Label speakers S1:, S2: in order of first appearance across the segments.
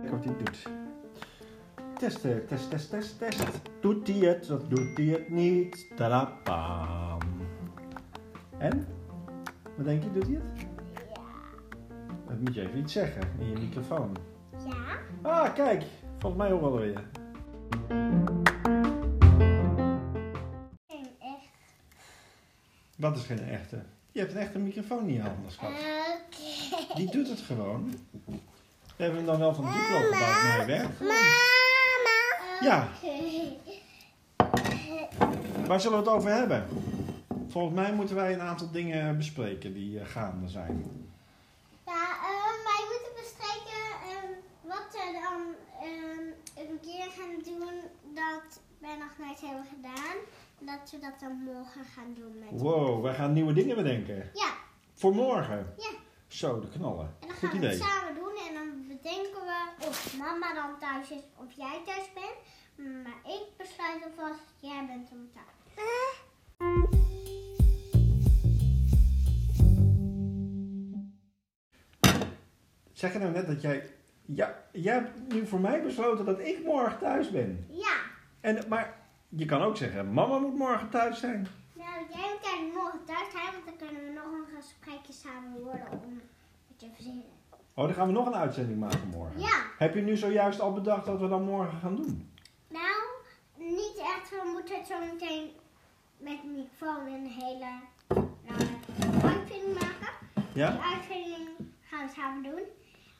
S1: Kijk wat hij doet. Testen, test, test, test, test. Doet hij het of doet hij het niet? Tadapam. En? Wat denk je, doet hij het? Dat moet je even iets zeggen in je microfoon.
S2: Ja.
S1: Ah, kijk. Volgens mij ook alweer.
S2: En echt.
S1: Dat is geen echte. Je hebt een echte microfoon niet aan, anders schat.
S2: Oké.
S1: Die doet het gewoon. We hebben hem dan wel van Duplo gebouwd, maar hij werkt gewoon.
S2: Mama.
S1: Ja,
S2: Oké.
S1: waar zullen we het over hebben? Volgens mij moeten wij een aantal dingen bespreken die eh, gaande zijn.
S2: Ja, ehm, wij moeten bespreken ehm, wat we dan ehm, een keer gaan doen dat wij nog nooit hebben gedaan. Dat we dat dan morgen gaan doen met
S1: Wow, wij gaan nieuwe dingen bedenken.
S2: Ja,
S1: Voor morgen.
S2: Ja.
S1: Zo, de knallen.
S2: en dan
S1: Goed
S2: gaan we het
S1: idee.
S2: samen doen en dan bedenken we of mama dan thuis is of jij thuis bent. Maar ik besluit alvast, jij bent dan thuis.
S1: Zeg je nou net dat jij... Ja, jij hebt nu voor mij besloten dat ik morgen thuis ben.
S2: Ja,
S1: En, maar je kan ook zeggen, mama moet morgen thuis zijn.
S2: nou jij moet eigenlijk morgen thuis zijn, want dan kunnen we nog een gesprekje samen horen om het te verzinnen.
S1: Oh, dan gaan we nog een uitzending maken morgen.
S2: Ja.
S1: Heb je nu zojuist al bedacht wat we dan morgen gaan doen?
S2: Nou, niet echt. We moeten het zo meteen met een microfoon een hele lange uitvinding maken. Die
S1: Ja?
S2: uitvinding gaan we samen doen.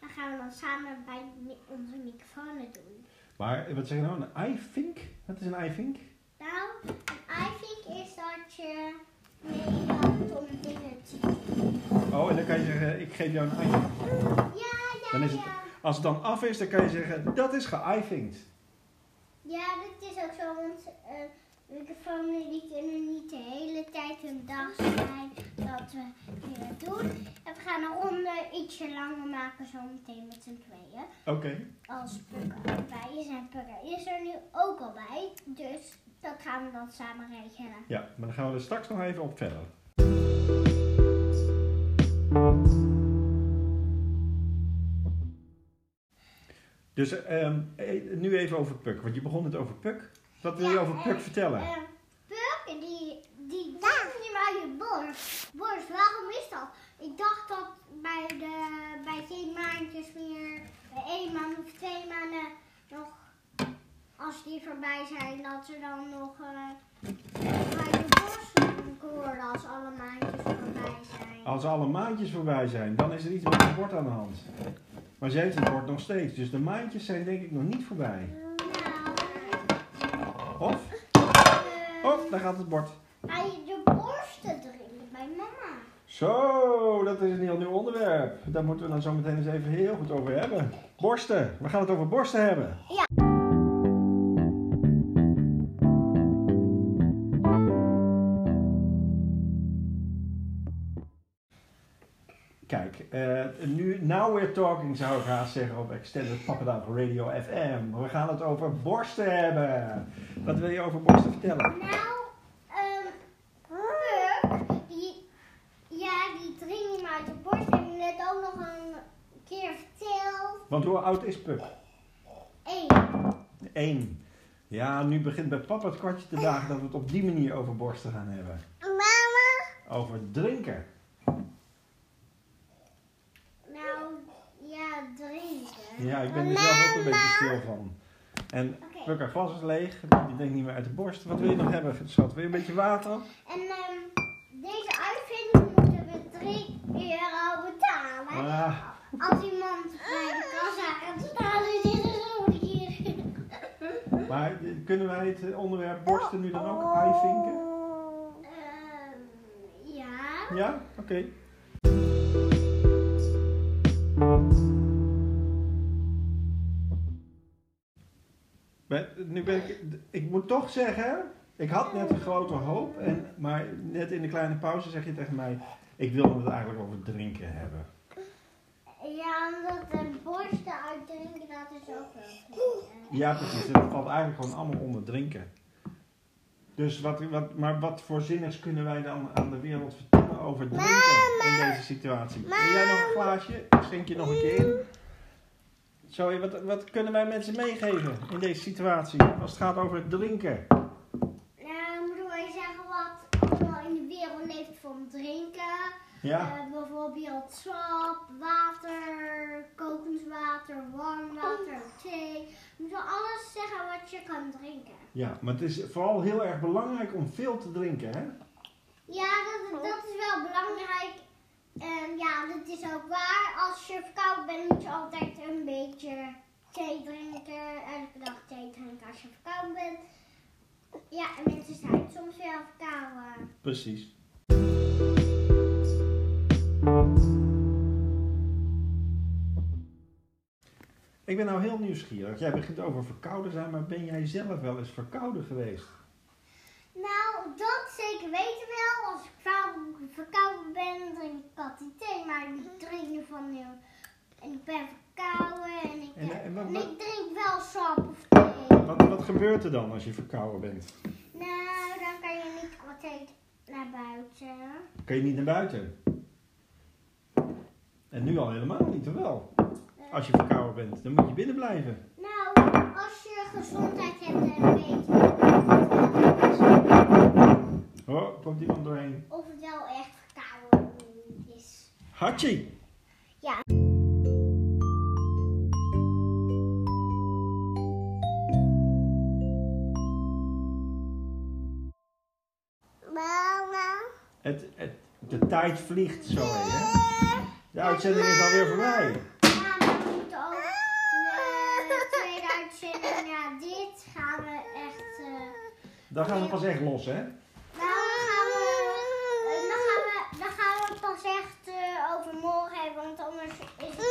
S2: Dan gaan we dan samen bij mi- onze microfoon doen.
S1: Maar wat zeg je nou? Een iFink? Wat is een iFink?
S2: Nou, een iFink is dat je mee helpt om dingen te doen.
S1: Oh, en dan kan je zeggen, ik geef jou een iFink.
S2: Ja,
S1: Dan
S2: ja,
S1: is het-
S2: ja.
S1: Als het dan af is, dan kan je zeggen, dat is geïfinkt.
S2: Ja, dat is ook zo, want eh, microfoons die kunnen niet de hele tijd hun dag zijn dat we het doen. En we gaan een ronde ietsje langer maken zometeen met z'n tweeën.
S1: Oké.
S2: Als Pukka erbij is en Pukka is er nu ook al bij, dus dat gaan we dan samen regelen.
S1: Ja, maar dan gaan we er straks nog even op verder. Dus ehm, eh, nu even over Puk, want je begon het over Puk. Wat wil je
S2: Ja,
S1: over Puk
S2: eh,
S1: vertellen?
S2: Eh, Puk, die, die komt niet meer uit je borst. Borst, waarom is dat? Ik dacht dat bij, de, bij geen maandjes meer, bij één maand of twee maanden nog, als die voorbij zijn, dat ze dan nog eh uit je borst moeten worden als alle maandjes voorbij zijn.
S1: Als alle maandjes voorbij zijn, dan is er iets met het bord aan de hand. Maar ze heeft het bord nog steeds, dus de maandjes zijn denk ik nog niet voorbij.
S2: eh,
S1: Of?
S2: Nou,
S1: Oh, daar gaat het bord.
S2: eh, Aan je borsten drinken bij mama.
S1: Zo, dat is een heel nieuw onderwerp. Daar moeten we dan zo meteen eens even heel goed over hebben. Borsten, we gaan het over borsten hebben.
S2: Ja.
S1: Kijk, eh, nu, now we're talking zou ik haast zeggen op Extended Papadap Radio FM. We gaan het over borsten hebben. Wat wil je over borsten vertellen?
S2: Nou, ehm, Puk, die, ja, die drie niet meer uit de borst. Heb je net ook nog een keer verteld.
S1: Want hoe oud is Puck?
S2: Eén.
S1: Eén. Ja, nu begint bij papa het kwartje te dagen dat we het op die manier over borsten gaan hebben.
S2: Mama?
S1: Over drinken.
S2: Nou, ja, drinken.
S1: Ja, ik ben er zelf ook een beetje stil van. En
S2: Oké.
S1: Puk, haar glas is leeg. Die denkt niet meer uit de borst. Wat wil je nog hebben, schat? Wil je een beetje water?
S2: En ehm, deze uitvinding moeten we drie euro betalen.
S1: Ah,
S2: Als iemand bij de kassa gaat staan, dan is het zo hier.
S1: maar eh, kunnen wij het onderwerp borsten nu dan ook bijvinken?
S2: Ehm, ja.
S1: Ja? Oké. Ben- Nu ben ik, ik moet toch zeggen, ik had net een grote hoop, en, maar net in de kleine pauze zeg je tegen mij, ik wil het eigenlijk over drinken hebben.
S2: Ja, omdat de borsten uitdrinken, dat is ook wel goed.
S1: Ja, precies. Dus Dat valt eigenlijk gewoon allemaal onder drinken. Dus wat, wat, maar wat voor zinnigs kunnen wij dan aan de wereld vertellen over drinken in deze situatie. Wil jij nog een glaasje? Schenk je nog een keer in. Zoe, wat, wat kunnen wij mensen meegeven in deze situatie als het gaat over drinken?
S2: Nou, moet ik wel zeggen wat allemaal in de wereld leeft van drinken.
S1: Ja,
S2: Eh, bijvoorbeeld sap, water, kokend water, warm water, thee. Je moet wel alles zeggen wat je kan drinken.
S1: ja, maar het is vooral heel erg belangrijk om veel te drinken, hè?
S2: Ja, dat, dat is wel belangrijk. En ja, dat is ook waar. Als je verkoud bent, moet je altijd een beetje thee drinken. Elke dag thee drinken als je verkoud bent. Ja, en mensen zijn soms wel verkouden.
S1: Precies. Ik ben nou heel nieuwsgierig. Jij begint over verkouden zijn, maar ben jij zelf wel eens verkouden geweest?
S2: Nou, dat zeker weten wel. Als ik verkouden- verkouden ben, drink ik altijd thee. Maar
S1: Mhm.
S2: ik drink nu van nu. En ik ben verkouden en ik,
S1: En, en wat,
S2: en
S1: wat,
S2: ik drink wel sap of thee.
S1: wat, wat gebeurt er dan als je verkouden bent?
S2: Nou, dan kan je niet altijd naar buiten.
S1: Kun je niet naar buiten? En nu al helemaal niet, terwijl. Als je verkouden bent, dan moet je binnen blijven.
S2: Nou, als je gezondheid hebt en weet
S1: Oh, komt iemand doorheen.
S2: of het wel echt verkouden is.
S1: Hachi!
S2: Ja. Mama.
S1: Het, het, de tijd vliegt zo, hè? De uitzending is alweer voorbij.
S2: Ja, maar we moeten ook de tweede uitzending na dit gaan we echt. eh,
S1: Dan gaan we pas echt los, hè?
S2: Nou, dan gaan we, eh, dan gaan we, dan gaan we het pas echt eh, over morgen hebben, want anders is het...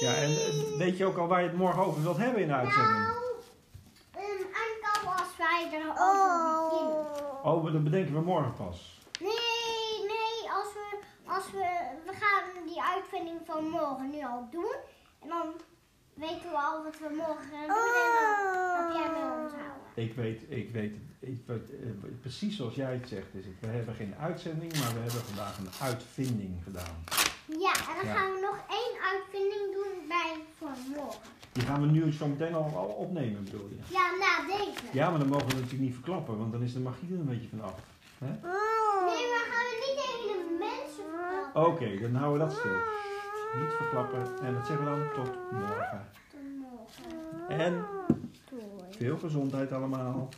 S1: Ja, en eh, weet je ook al waar je het morgen over wilt hebben in de uitzending?
S2: Nou, ehm, aankomen als wij erover beginnen.
S1: Oh, dat bedenken we morgen pas.
S2: Nee, nee, als we, als we, we gaan die uitvinding van morgen nu al doen. En dan weten we al wat we morgen gaan doen en dan heb jij me onthouden.
S1: Ik weet, ik weet, ik weet eh, precies zoals jij het zegt. Is het. We hebben geen uitzending, maar we hebben vandaag een uitvinding gedaan.
S2: Ja, en dan
S1: Ja.
S2: gaan we nog één uitvinding doen bij van morgen.
S1: Die gaan we nu zo meteen al, al opnemen, bedoel je?
S2: Ja, na deze.
S1: Ja, maar dan mogen we natuurlijk niet verklappen, want dan is de magie er een beetje vanaf.
S2: Nee, maar gaan we niet tegen de mensen vertellen.
S1: Oké, dan houden we dat stil. Niet verklappen. En dat zeggen we dan tot morgen.
S2: Tot morgen.
S1: En veel gezondheid allemaal.